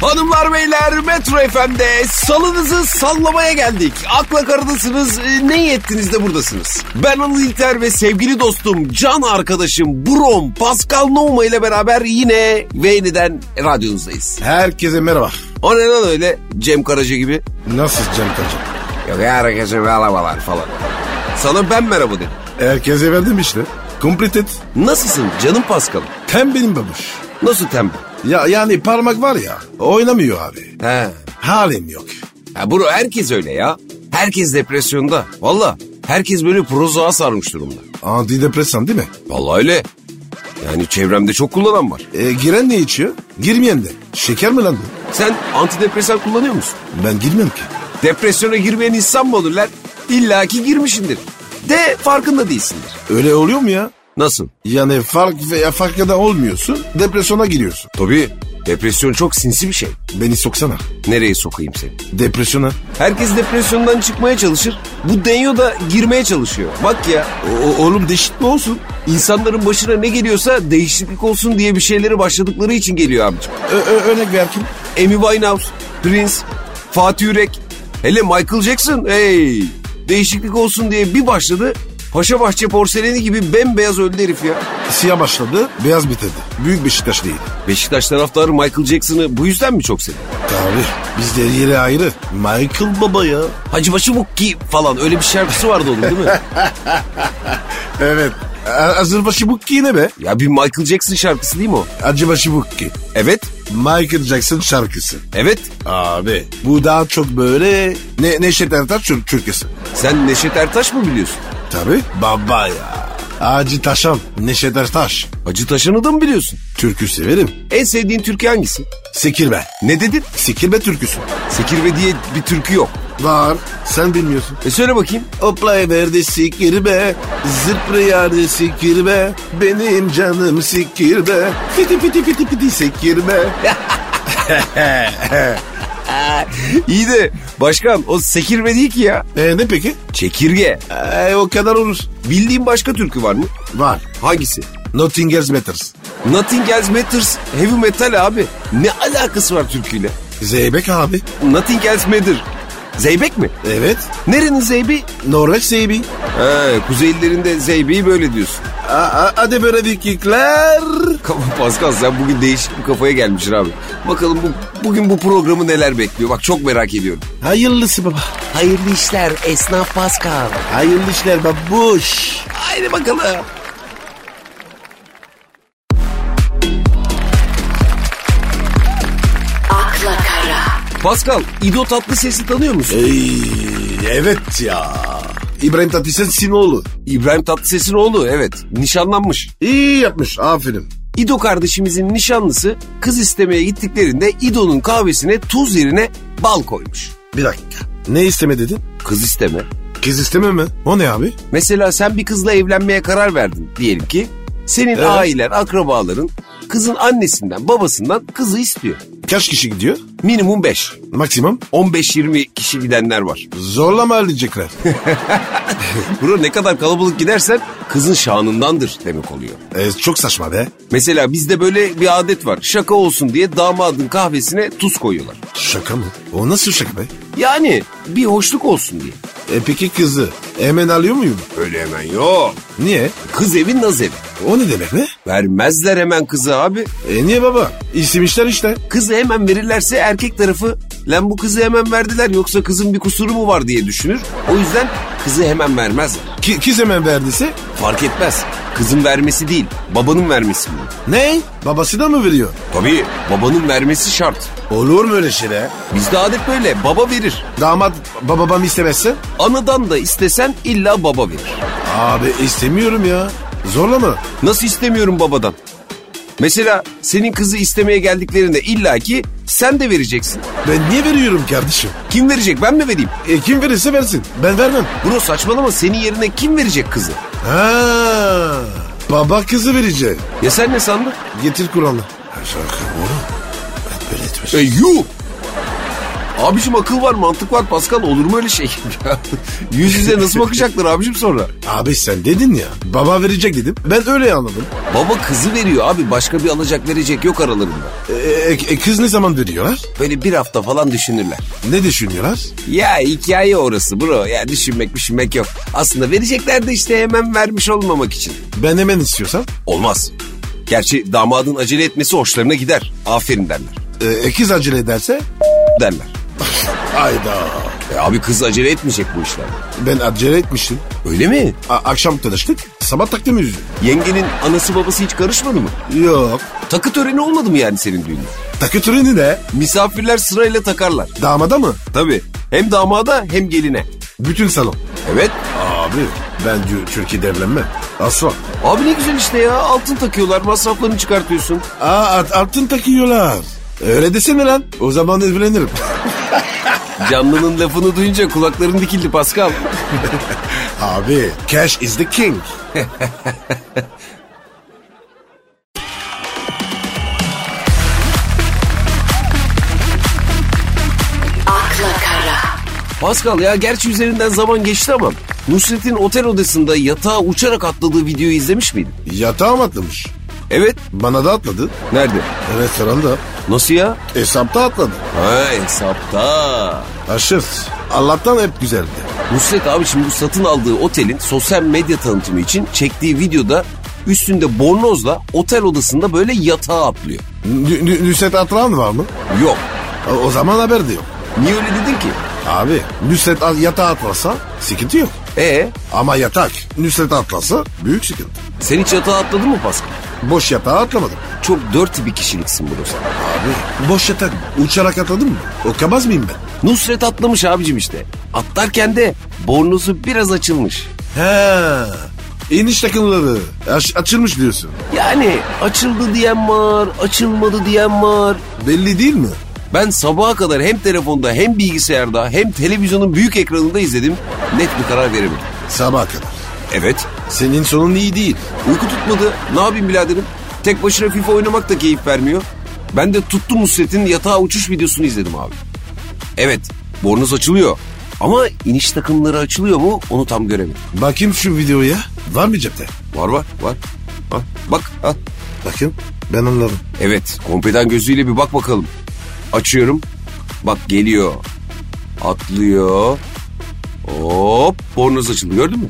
Hanımlar beyler Metro FM'de salınızı sallamaya geldik. Akla karadasınız e, ne iyi ettiniz de buradasınız. Ben Anıl İlter ve sevgili dostum, can arkadaşım, brom, Pascal Nouma ile beraber yine Veyni'den radyonuzdayız. Herkese merhaba. O ne lan öyle Cem Karaca gibi? Nasıl Cem Kaçak? Yok herkese merhabalar falan. Sana ben merhaba dedim. Herkese verdim işte. Completed. Nasılsın canım Pascal'ım? Tembelim babuş. Nasıl tembel? Ya yani parmak var ya oynamıyor abi. He. Halim yok. Ya bro herkes öyle ya. Herkes depresyonda. Valla herkes böyle prozoğa sarmış durumda. Antidepresan değil mi? Vallahi öyle. Yani çevremde çok kullanan var. E, giren ne içiyor? Girmeyen de. Şeker mi lan bu? Sen antidepresan kullanıyor musun? Ben girmem ki. Depresyona girmeyen insan mı olur lan? İlla ki girmişindir. De farkında değilsindir. Öyle oluyor mu ya? Nasıl? Yani fark veya farkında olmuyorsun. Depresyona giriyorsun. Tabii depresyon çok sinsi bir şey. Beni soksana. Nereye sokayım seni? Depresyona. Herkes depresyondan çıkmaya çalışır. Bu denyo da girmeye çalışıyor. Bak ya O- o- oğlum değişik mi olsun? insanların başına ne geliyorsa değişiklik olsun diye bir şeyleri başladıkları için geliyor abicim. Ö- ö- örnek ver kim? Amy Winehouse, Prince, Fatih Yürek, hele Michael Jackson hey değişiklik olsun diye bir başladı. Paşa Bahçe porseleni gibi bembeyaz öldü herif ya. Siyah başladı, beyaz bitirdi. Büyük Beşiktaş değil. Beşiktaş taraftarı Michael Jackson'ı bu yüzden mi çok sevdi? Tabii. Bizde yeri ayrı. Michael Baba ya. Hacıbaşı Bukki falan öyle bir şarkısı vardı onun değil mi? Evet. Hazırbaşı Bukki ne be? ya bir Michael Jackson şarkısı değil mi o? Acıbaşı Bukki. Evet, Michael Jackson şarkısı. evet. Abi. Bu daha çok böyle ne, Neşet Ertaş çür- türküsü. Sen Neşet Ertaş mı biliyorsun? Tabii. Baba ya. Acı Taşan. Neşet Ertaş. Hacı Taşan'ı da mı biliyorsun? Türkü severim. En sevdiğin türkü hangisi? Sekirme. Ne dedin? Sekirme türküsü. Sekirve diye bir türkü yok. Var. Sen bilmiyorsun. E söyle bakayım. Hoplayıverdi sikirbe, zıplayadı sikirbe, benim canım sikirbe, fiti fiti fiti fiti sikirbe. İyi de başkan o sekirve değil ki ya. E ne peki? Çekirge. E, o kadar olur. Bildiğin başka türkü var mı? Var. Hangisi? Nothing else matters. Nothing Else Matters Heavy Metal abi. Ne alakası var türküyle? Zeybek abi. Nothing Else Matter. Zeybek mi? Evet. Nerenin zeybi? Norveç zeybi. He, kuzeylilerinde zeybeyi böyle diyorsun. A- a- Hadi böyle dikikler. Kafa Pascal sen bugün değişik bir kafaya gelmişsin abi. Bakalım bu, bugün bu programı neler bekliyor? Bak çok merak ediyorum. Hayırlısı baba. Hayırlı işler Esnaf Pascal. Hayırlı işler babuş. Haydi bakalım. akla kara, Pascal, İdo tatlı sesi tanıyor musun? Ey, evet ya. İbrahim Tatlıses Sinoğlu. E, İbrahim Tatlıses'in oğlu evet. Nişanlanmış. İyi yapmış aferin. İdo kardeşimizin nişanlısı kız istemeye gittiklerinde İdo'nun kahvesine tuz yerine bal koymuş. Bir dakika. Ne isteme dedin? Kız isteme. Kız isteme mi? O ne abi? Mesela sen bir kızla evlenmeye karar verdin diyelim ki. Senin Evet. ailen, akrabaların kızın annesinden, babasından kızı istiyor. Kaç kişi gidiyor? Minimum 5. Maksimum. 15-20 kişi gidenler var. Zorlama halledecekler. Buna ne kadar kalabalık gidersen kızın şanındandır demek oluyor. E, çok saçma be. Mesela bizde böyle bir adet var. Şaka olsun diye damadın kahvesine tuz koyuyorlar. Şaka mı? O nasıl şaka be? Yani bir hoşluk olsun diye. E peki kızı hemen alıyor muyum? Öyle hemen yok. Niye? Kız evin naz evi. O ne demek be? Vermezler hemen kızı abi. E niye baba? İstemişler işte. Kızı hemen verirlerse erkek tarafı lan bu kızı hemen verdiler yoksa kızın bir kusuru mu var diye düşünür. O yüzden kızı hemen vermez. Ki, kız hemen verdiyse. Fark etmez. Kızın vermesi değil, babanın vermesi mi? Ne? Babası da mı veriyor? Tabii babanın vermesi şart. Olur mu öyle şey be? Bizde adet böyle, baba verir. Damat ba- babam istemezse? Anadan da istesen illa baba verir. Abi istemiyorum ya. Zorlama. Nasıl istemiyorum babadan? Mesela senin kızı istemeye geldiklerinde illaki sen de vereceksin. Ben niye veriyorum kardeşim? Kim verecek ben mi vereyim? E kim verirse versin. Ben vermem. Bro saçmalama senin yerine kim verecek kızı? Ha, baba kızı verecek. Ya sen ne sandın? Getir Kur'an'ı. Şaka oğlum. Ben böyle etmiş. E yu. E, Abicim akıl var mantık var Pascal olur mu öyle şey? Yüz yüze nasıl bakacaklar abicim sonra? Abi sen dedin ya. Baba verecek dedim. Ben öyle anladım. Baba kızı veriyor abi başka bir alacak verecek yok aralarında. E, e, e, kız ne zaman veriyorlar? Böyle bir hafta falan düşünürler. Ne düşünüyorlar? Ya hikaye orası bro ya düşünmek düşünmek yok. Aslında verecekler de işte hemen vermiş olmamak için. Ben hemen istiyorsam. Olmaz. Gerçi damadın acele etmesi hoşlarına gider. Aferin derler. E, e, kız acele ederse. Derler. Hayda. E abi kız acele etmeyecek bu işlerde. Ben acele etmiştim. Öyle mi? A- akşam tanıştık. Sabah takdim yüzü. Yengenin anası babası hiç karışmadı mı? Yok. Takı töreni olmadı mı yani senin düğünün? Takı töreni ne? Misafirler sırayla takarlar. Damada mı? Tabii. Hem damada hem geline. Bütün salon. Evet. Abi ben Tür- Türkiye'de evlenme. Asla. Abi ne güzel işte ya. Altın takıyorlar. Masraflarını çıkartıyorsun. Aa at- altın takıyorlar. Öyle desene lan. O zaman evlenirim. Canlının lafını duyunca kulakların dikildi Pascal. Abi cash is the king. akla kara, Pascal ya gerçi üzerinden zaman geçti ama Nusret'in otel odasında yatağa uçarak atladığı videoyu izlemiş miydin? Yatağa mı atlamış? Evet. Bana da atladı. Nerede? Restoranda. Nasıl ya? Hesapta atladı. Ha hesapta. Aşırı. Allah'tan hep güzeldi. Nusret abi şimdi bu satın aldığı otelin sosyal medya tanıtımı için çektiği videoda üstünde bornozla otel odasında böyle yatağa atlıyor. Nü- nü- Nusret Atlan var mı? Yok. O- O zaman haber de yok. Niye öyle dedin ki? Abi Nusret at- yatağa atlasa sıkıntı yok. E Ama yatak Nusret atlasa büyük sıkıntı. sen hiç yatağa atladın mı Pascal? Boş yatağa atlamadım. Çok dört bir kişiliksin burası. Abi boş yatak uçarak atladın mı? O kabaz mıyım ben? Nusret atlamış abicim işte. Atlarken de bornozu biraz açılmış. He. İniş takımları aç- açılmış diyorsun. Yani açıldı diyen var, açılmadı diyen var. Belli değil mi? Ben sabaha kadar hem telefonda hem bilgisayarda hem televizyonun büyük ekranında izledim. Net bir karar veremedim. Sabaha kadar. Evet. Senin sonun iyi değil. Uyku tutmadı. Ne yapayım biraderim? Tek başına FIFA oynamak da keyif vermiyor. Ben de tuttum Nusret'in yatağa uçuş videosunu izledim abi. Evet, bornoz açılıyor. Ama iniş takımları açılıyor mu onu tam göremedim. Bakayım şu videoya. Var mı cepte? Var var var. Ha, bak ha. Bakın ben anladım. Evet kompeten gözüyle bir bak bakalım. Açıyorum. Bak geliyor. Atlıyor. Hop bornoz açıldı gördün mü?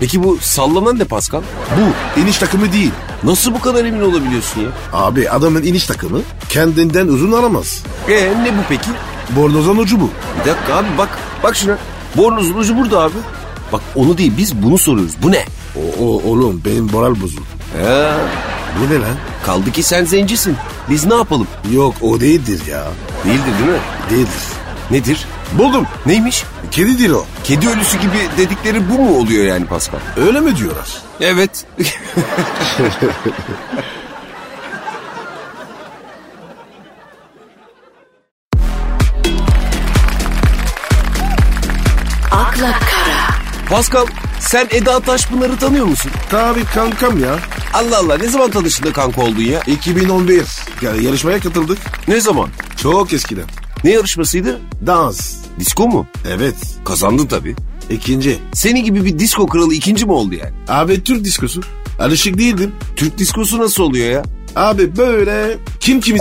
Peki bu sallanan ne Pascal? Bu iniş takımı değil. Nasıl bu kadar emin olabiliyorsun ya? Abi adamın iniş takımı kendinden uzun aramaz. E ne bu peki? Bornozan ucu bu. Bir dakika abi bak. Bak şuna. Bornozun ucu burada abi. Bak onu değil biz bunu soruyoruz. Bu ne? O, o- oğlum benim moral bozuldu. He, Bu ne lan? kaldı ki sen zencisin. Biz ne yapalım? Yok o değildir ya. Değildir değil mi? Değildir. Nedir? Buldum. Neymiş? Kedidir o. Kedi ölüsü gibi dedikleri bu mu oluyor yani Pascal? Öyle mi diyorlar? Evet. akla kara, Pascal sen Eda Taşpınar'ı tanıyor musun? Tabii kankam ya. Allah Allah ne zaman tanıştın da kanka oldun ya? 2011. Yani yarışmaya katıldık. Ne zaman? Çok eskiden. Ne yarışmasıydı? Dans. Disko mu? Evet. Kazandın tabii. İkinci. Seni gibi bir disko kralı ikinci mi oldu yani? Abi Türk diskosu. Alışık değildim. Türk diskosu nasıl oluyor ya? Abi böyle kim kimi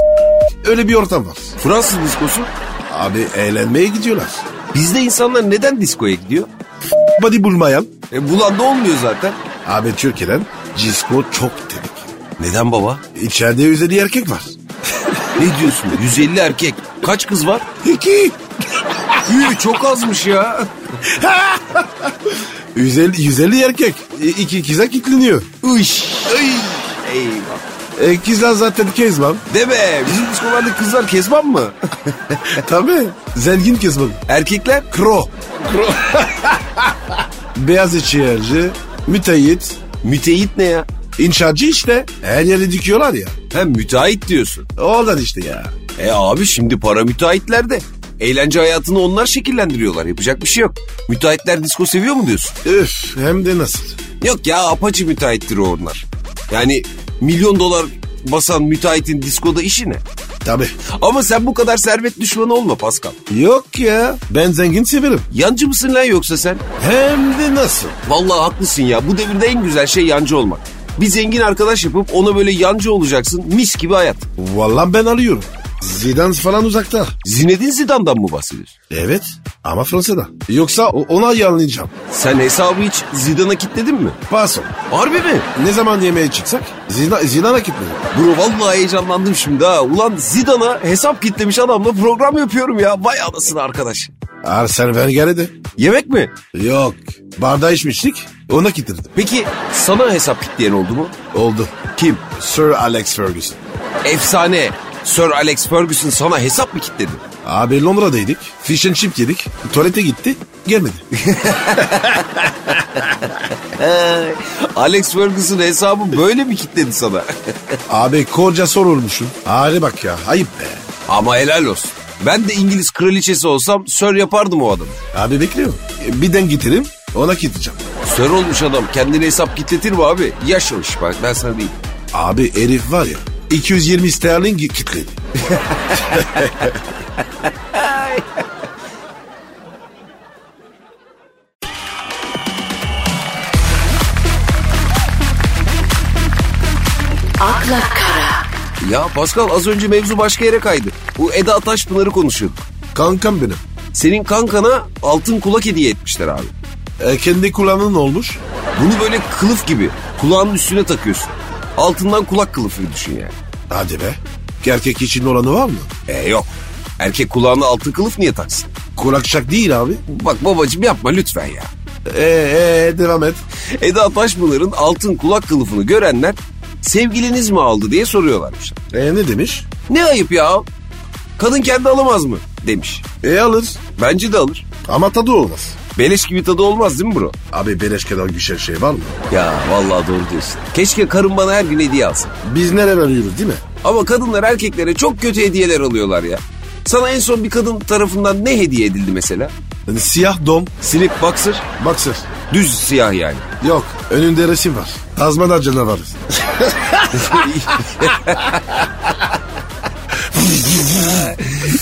öyle bir ortam var. Fransız diskosu? Abi eğlenmeye gidiyorlar. Bizde insanlar neden diskoya gidiyor? Body bulmayan. E, bulan da olmuyor zaten. Abi Türkiye'den disco çok dedik. Neden baba? İçeride üzeri erkek var. Ne diyorsun? 150 erkek. Kaç kız var? İki. Üy, çok azmış ya. 150, 150 erkek. İ- İki kiza kilitleniyor. Üş. Ay. Eyvah. E, kızlar zaten kezmam. Deme bizim diskolarda kızlar kezban mı? Tabii. Zengin kezmam. Erkekler? Kro. Beyaz içiyerci, müteahhit, Müteyit ne ya? inşaatçı işte. Her yeri dikiyorlar ya. Hem müteahhit diyorsun. Oradan işte ya. E abi şimdi para müteahhitlerde. Eğlence hayatını onlar şekillendiriyorlar. Yapacak bir şey yok. Müteahhitler disko seviyor mu diyorsun? Üf hem de nasıl. Yok ya apaçı müteahhittir o onlar. Yani milyon dolar basan müteahhitin diskoda işi ne? Tabii. Ama sen bu kadar servet düşmanı olma Pascal. Yok ya. Ben zengin severim. Yancı mısın lan yoksa sen? Hem de nasıl? Vallahi haklısın ya. Bu devirde en güzel şey yancı olmak. Bir zengin arkadaş yapıp ona böyle yancı olacaksın. Mis gibi hayat. Vallahi ben alıyorum. Zidane falan uzakta. Zinedine Zidane'dan mı bahsediyorsun? Evet ama Fransa'da. Yoksa o- ona yanlayacağım. Sen hesabı hiç Zidane'a kitledin mi? Paso. Harbi mi? Ne zaman yemeğe çıksak Zidane, Zidane'a gitmedim. Bro vallahi heyecanlandım şimdi ha. Ulan Zidane'a hesap kitlemiş adamla program yapıyorum ya. Vay anasını arkadaş. Arsene Wenger'e de. Yemek mi? Yok. Bardağı içmiştik. Ona getirdim. Peki sana hesap kitleyen oldu mu? Oldu. Kim? Sir Alex Ferguson. Efsane. Sir Alex Ferguson sana hesap mı kitledi? Abi Londra'daydık. Fish and chip yedik. Tuvalete gitti. Gelmedi. Alex Ferguson hesabı böyle mi kitledi sana? Abi koca sorulmuşum. Hale bak ya. Ayıp be. Ama helal olsun. Ben de İngiliz kraliçesi olsam sör yapardım o adamı. Abi bekliyorum. E, Birden getireyim. Ona gideceğim. Sör olmuş adam kendine hesap kitletir mi abi? Yaşamış bak ben sana diyeyim. Abi herif var ya. 220 sterlin gi- kitledi. akla kara, Ya Pascal az önce mevzu başka yere kaydı. Bu Eda Taşpınar'ı konuşuyorduk. Kankam benim. Senin kankana altın kulak hediye etmişler abi. E, kendi kulağının olmuş. Bunu böyle kılıf gibi kulağının üstüne takıyorsun. Altından kulak kılıfı düşün yani. Hadi be. Erkek için olanı var mı? E yok. Erkek kulağına altın kılıf niye taksın? Kulak şak değil abi. Bak babacım yapma lütfen ya. Eee e, devam et. Eda Taşpınar'ın altın kulak kılıfını görenler sevgiliniz mi aldı diye soruyorlarmış. E, ne demiş? Ne ayıp ya. Kadın kendi alamaz mı demiş. E alır. Bence de alır. Ama tadı olmaz. Beleş gibi tadı olmaz değil mi bro? Abi beleş kadar güzel şey var mı? Ya vallahi doğru diyorsun. Keşke karım bana her gün hediye alsın. Biz nereye arıyoruz değil mi? Ama kadınlar erkeklere çok kötü hediyeler alıyorlar ya. Sana en son bir kadın tarafından ne hediye edildi mesela? Yani siyah dom, Slip boxer, boxer. düz siyah yani. Yok, önünde resim var. Tazmada canavarı.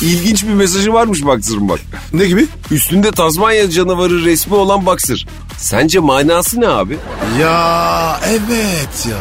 İlginç bir mesajı varmış boxer'ın bak. Ne gibi? Üstünde Tazmanya canavarı resmi olan boxer. Sence manası ne abi? Ya evet ya.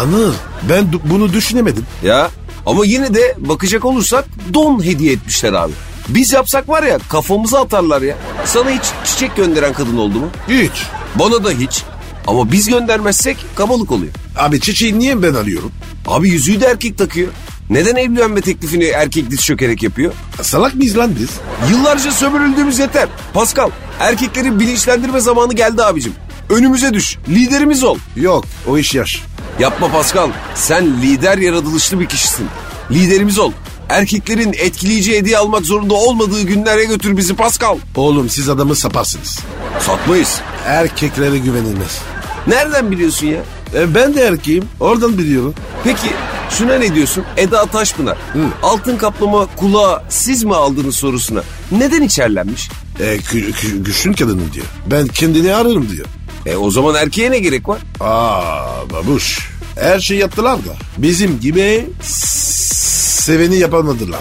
Anır, ben du- bunu düşünemedim. Ya ama yine de bakacak olursak don hediye etmişler abi. Biz yapsak var ya kafamıza atarlar ya. Sana hiç çiçek gönderen kadın oldu mu? Hiç. Bana da hiç. Ama biz göndermezsek kabalık oluyor. Abi çiçeği niye ben alıyorum? Abi yüzüğü de erkek takıyor. Neden evlenme teklifini erkek diz çökerek yapıyor? Salak mıyız lan biz? Yıllarca sömürüldüğümüz yeter. Pascal, erkekleri bilinçlendirme zamanı geldi abicim. Önümüze düş, liderimiz ol. Yok, o iş yaş. Yapma Pascal, sen lider yaratılışlı bir kişisin. Liderimiz ol. Erkeklerin etkileyici hediye almak zorunda olmadığı günlere götür bizi Pascal. Oğlum siz adamı saparsınız. Satmayız. Erkeklere güvenilmez. Nereden biliyorsun ya? E, ben de erkeğim, oradan biliyorum. Peki şuna ne diyorsun? Eda Taşpınar. Altın kaplama kulağı siz mi aldınız sorusuna. Neden içerlenmiş? E, kü- kü- güçlü kadının diyor. Ben kendini ararım diyor. E o zaman erkeğe ne gerek var? Aa babuş. Her şey yaptılar da bizim gibi s- seveni yapamadılar.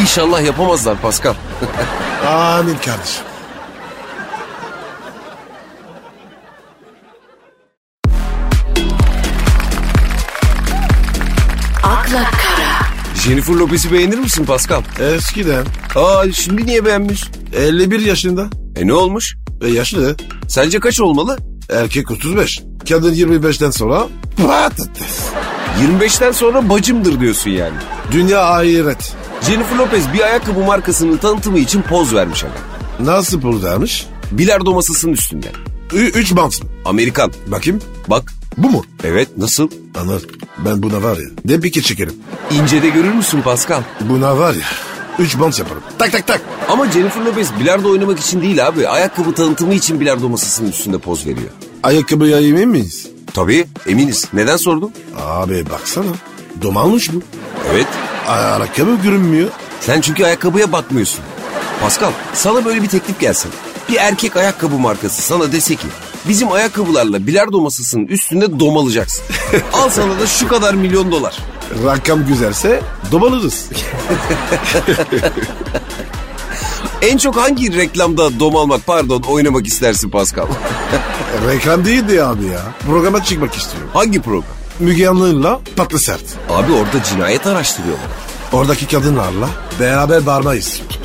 İnşallah yapamazlar Pascal. Amin kardeşim. akla kara, Jennifer Lopez'i beğenir misin Pascal? Eskiden Aa şimdi niye beğenmiş? 51 yaşında E ne olmuş? ve yaşlı Sence kaç olmalı? erkek 35. Kadın 25'ten sonra patates. 25'ten sonra bacımdır diyorsun yani. Dünya ahiret. Jennifer Lopez bir ayakkabı markasının tanıtımı için poz vermiş adam. Nasıl buradaymış? Bilardo masasının üstünde. 3 bant. Amerikan. Bakayım Bak. bu mu? Evet nasıl? Anır ben buna var ya ne pike çekerim. İncede görür müsün Pascal? Buna var ya 3 bant yaparım. Tak tak tak. Ama Jennifer Lopez bilardo oynamak için değil abi. Ayakkabı tanıtımı için bilardo masasının üstünde poz veriyor. Ayakkabı yayayım miyiz? Tabii eminiz. Neden sordum? Abi baksana. Domalmış bu. Evet. Ayakkabı görünmüyor. Sen çünkü ayakkabıya bakmıyorsun. Pascal sana böyle bir teklif gelsin. Bir erkek ayakkabı markası sana dese ki bizim ayakkabılarla bilardo masasının üstünde domalacaksın. Al sana da şu kadar milyon dolar. Rakam güzelse domalırız. En çok hangi reklamda domalmak pardon oynamak istersin Pascal? Reklam değildi abi ya. Programa çıkmak istiyorum. hangi program? Müge Anlı'yla tatlı sert. Abi orada cinayet araştırıyorlar. Oradaki kadınlarla beraber bağırma istiyorum.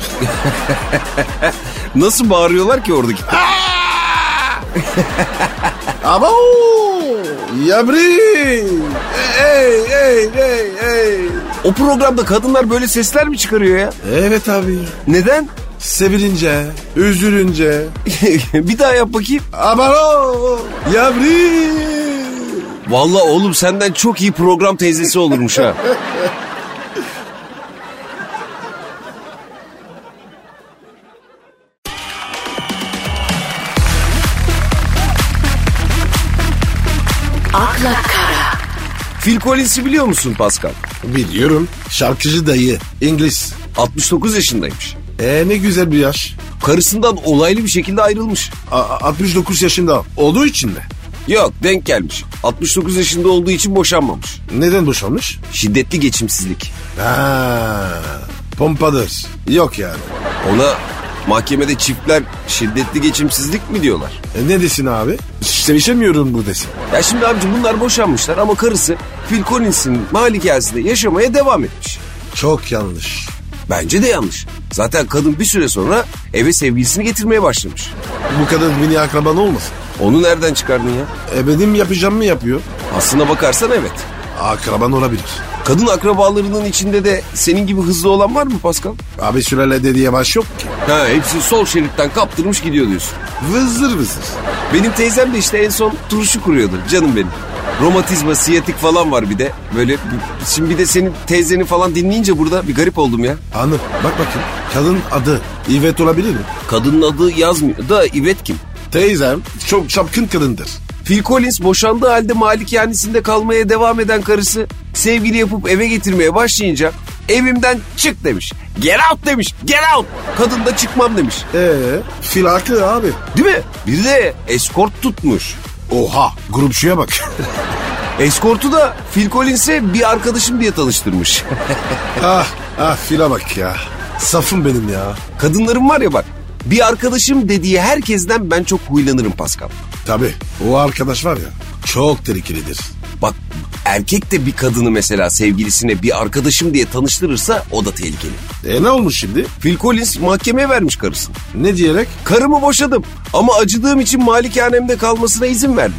Nasıl bağırıyorlar ki oradaki? Ama o yabri. Ey ey ey ey. O programda kadınlar böyle sesler mi çıkarıyor ya? Evet abi. Neden? Sevilince, üzülünce. bir daha yap bakayım. Aman o yabri. Vallahi oğlum senden çok iyi program teyzesi olurmuş ha. akla kara, Phil Collins'i biliyor musun Pascal? Biliyorum. Şarkıcı dayı. İngiliz. 69 yaşındaymış. E ne güzel bir yaş. Karısından olaylı bir şekilde ayrılmış. A- 69 yaşında olduğu için mi? Yok denk gelmiş. 69 yaşında olduğu için boşanmamış. Neden boşanmış? Şiddetli geçimsizlik. Ha, pompadır. Yok yani. Ona mahkemede çiftler şiddetli geçimsizlik mi diyorlar? E ne desin abi? Sevişemiyorum bu desin. Ya şimdi abicim bunlar boşanmışlar ama karısı Phil Collins'in malikesinde yaşamaya devam etmiş. Çok yanlış. Bence de yanlış. Zaten kadın bir süre sonra eve sevgilisini getirmeye başlamış. Bu kadın beni akraban olmasın. Onu nereden çıkardın ya? E benim yapacağım mı yapıyor? Aslına bakarsan evet. Akraban olabilir. Kadın akrabalarının içinde de senin gibi hızlı olan var mı Pascal? Abi sürele dediği baş yok ki. Ha hepsi sol şeritten kaptırmış gidiyor diyorsun. Vızır vızır. Benim teyzem de işte en son turşu kuruyordu canım benim. Romatizma, siyatik falan var bir de. Böyle şimdi bir de senin teyzeni falan dinleyince burada bir garip oldum ya. Anır bak bakayım. Kadın adı İvet olabilir mi? Kadının adı yazmıyor da İvet kim? Teyzem çok çapkın kadındır. Phil Collins boşandığı halde malikanesinde kalmaya devam eden karısı sevgili yapıp eve getirmeye başlayınca evimden çık demiş. Get out demiş. Get out. Kadın da çıkmam demiş. Eee fil haklı E, abi. Değil mi? Bir de eskort tutmuş. Oha grupçuya bak. Eskortu da Phil Collins'e bir arkadaşım diye tanıştırmış. ah ah fila bak ya. Safım benim ya. Kadınların var ya bak bir arkadaşım dediği herkesten ben çok huylanırım Pascal. Tabii o arkadaş var ya çok tehlikelidir. Bak erkek de bir kadını mesela sevgilisine bir arkadaşım diye tanıştırırsa o da tehlikeli. E ne olmuş şimdi? Phil Collins mahkemeye vermiş karısını. Ne diyerek? Karımı boşadım ama acıdığım için malikanemde kalmasına izin verdim.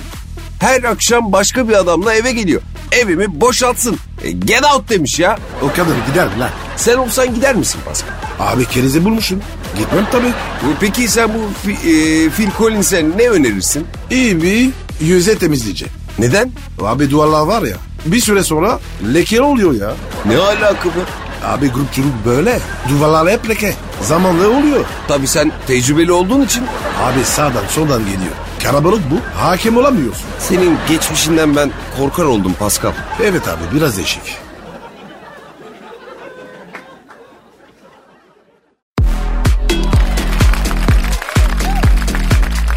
Her akşam başka bir adamla eve geliyor. Evimi boşaltsın. E, get out demiş ya. O kadın gider mi lan? Sen olsan gider misin Pascal? Abi kerizi bulmuşum. Gitmem tabii. E, Peki sen bu Fi- e, Phil Collins'e ne önerirsin? İyi bir yüze temizleyici. Neden? Abi duvarlar var ya bir süre sonra leke oluyor ya. Ne alaka bu? Abi grupçuluk böyle. Duvarlar hep leke. Zamanla oluyor. Tabii sen tecrübeli olduğun için Abi sağdan soldan geliyor. Karabalık bu. Hakim olamıyorsun. senin geçmişinden ben korkar oldum Pascal. Evet abi biraz değişik.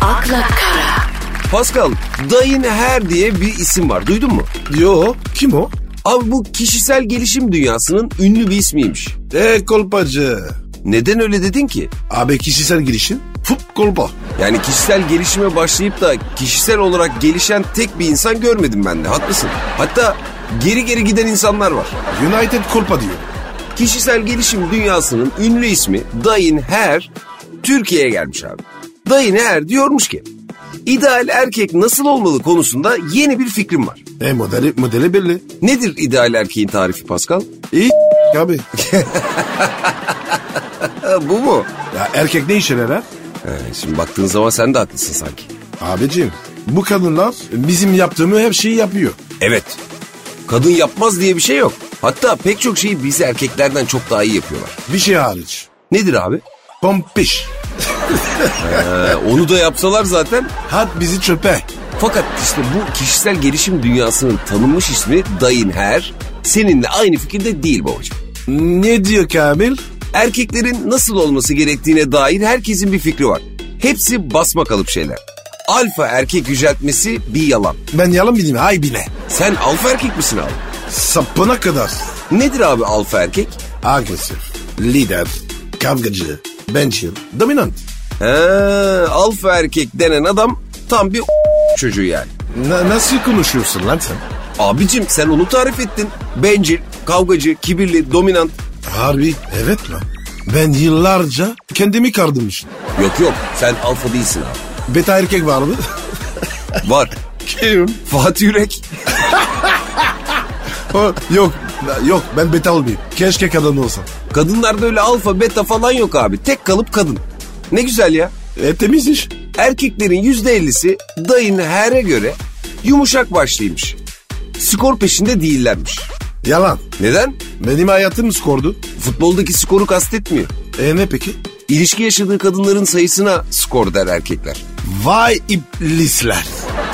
akla kara, Pascal, Dayın Her diye bir isim var. Duydun mu? Yo kim o? Abi bu kişisel gelişim dünyasının ünlü bir ismiymiş. E kolpacı. Neden öyle dedin ki? Abi kişisel girişin fup kolpa. Yani kişisel gelişime başlayıp da kişisel olarak gelişen tek bir insan görmedim ben de. Haklısın. Hatta geri geri giden insanlar var. United kolpa diyor. Kişisel gelişim dünyasının ünlü ismi Dayin Her Türkiye'ye gelmiş abi. Dayin Her diyormuş ki ideal erkek nasıl olmalı konusunda yeni bir fikrim var. E modeli, modeli belli. Nedir ideal erkeğin tarifi Pascal? İyi abi. Ha, E, bu mu? Ya erkek ne işe yarar? He, E, şimdi baktığın zaman sen de haklısın sanki. Abicim bu kadınlar bizim yaptığımız her şeyi yapıyor. Evet. Kadın yapmaz diye bir şey yok. Hatta pek çok şeyi biz erkeklerden çok daha iyi yapıyorlar. Bir şey hariç. Nedir abi? Pompiş. Ee, onu da yapsalar zaten. Hat bizi çöpe. Fakat işte bu kişisel gelişim dünyasının tanınmış ismi Dayın Her seninle aynı fikirde değil babacığım. Ne diyor Kamil? Erkeklerin nasıl olması gerektiğine dair herkesin bir fikri var. Hepsi basma kalıp şeyler. Alfa erkek yüceltmesi bir yalan. Ben yalan bileyim ay bile. Sen alfa erkek misin abi? sapına kadar. Nedir abi alfa erkek? Agresif, lider, kavgacı, bencil, dominant. He, alfa erkek denen adam tam bir çocuğu yani. Na- nasıl konuşuyorsun lan sen? Abicim sen onu tarif ettin. Bencil, kavgacı, kibirli, dominant. Harbi evet lan. Ben yıllarca kendimi kardırmışım. Yok yok sen alfa değilsin abi. Beta erkek vardı. Var. Kim? Fatih Yürek. yok yok ben beta olmayayım. Keşke kadın olsam. Kadınlarda öyle alfa, beta falan yok abi. Tek kalıp kadın. Ne güzel ya. E temiz iş. Erkeklerin yüzde ellisi dayın her'e göre yumuşak başlıymış. Skor peşinde değillermiş. Yalan. Neden? Benim hayatım skordu. Futboldaki skoru kastetmiyor. E ne peki? İlişki yaşadığı kadınların sayısına skor der erkekler. Vay iblisler.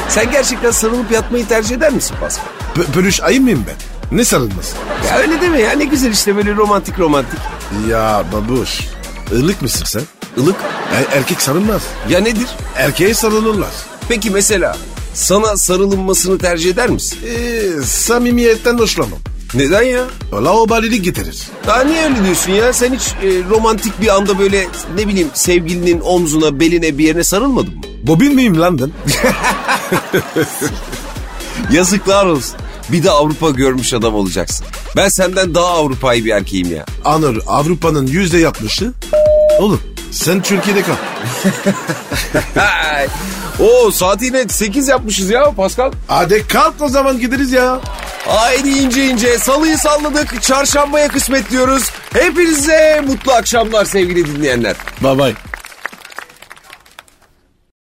Sen gerçekten sarılıp yatmayı tercih eder misin Pascal? P- pürüş ayı mıyım ben? Ne sarılması? Ya öyle deme ya ne güzel işte böyle romantik romantik. Ya babuş. ılık mısın sen? Ilık. E- erkek sarılmaz. Ya nedir? Erkeğe sarılırlar. Peki mesela sana sarılınmasını tercih eder misin? E, samimiyetten hoşlanmam. Neden ya? Ola o balilik getirir. Daha niye öyle diyorsun ya? Sen hiç e, romantik bir anda böyle ne bileyim sevgilinin omzuna, beline bir yerine sarılmadın mı? Bobin miyim lan ben? Yazıklar olsun. Bir de Avrupa görmüş adam olacaksın. Ben senden daha Avrupa'yı bir erkeğim ya. Anır Avrupa'nın yüzde yapmışı. Oğlum sen Türkiye'de kal. Hey. Oo saat yine 8 yapmışız ya Pascal. Hadi kalk o zaman gideriz ya. Haydi ince ince salıyı salladık. Çarşambaya kısmet diyoruz. Hepinize mutlu akşamlar sevgili dinleyenler. Bye bye.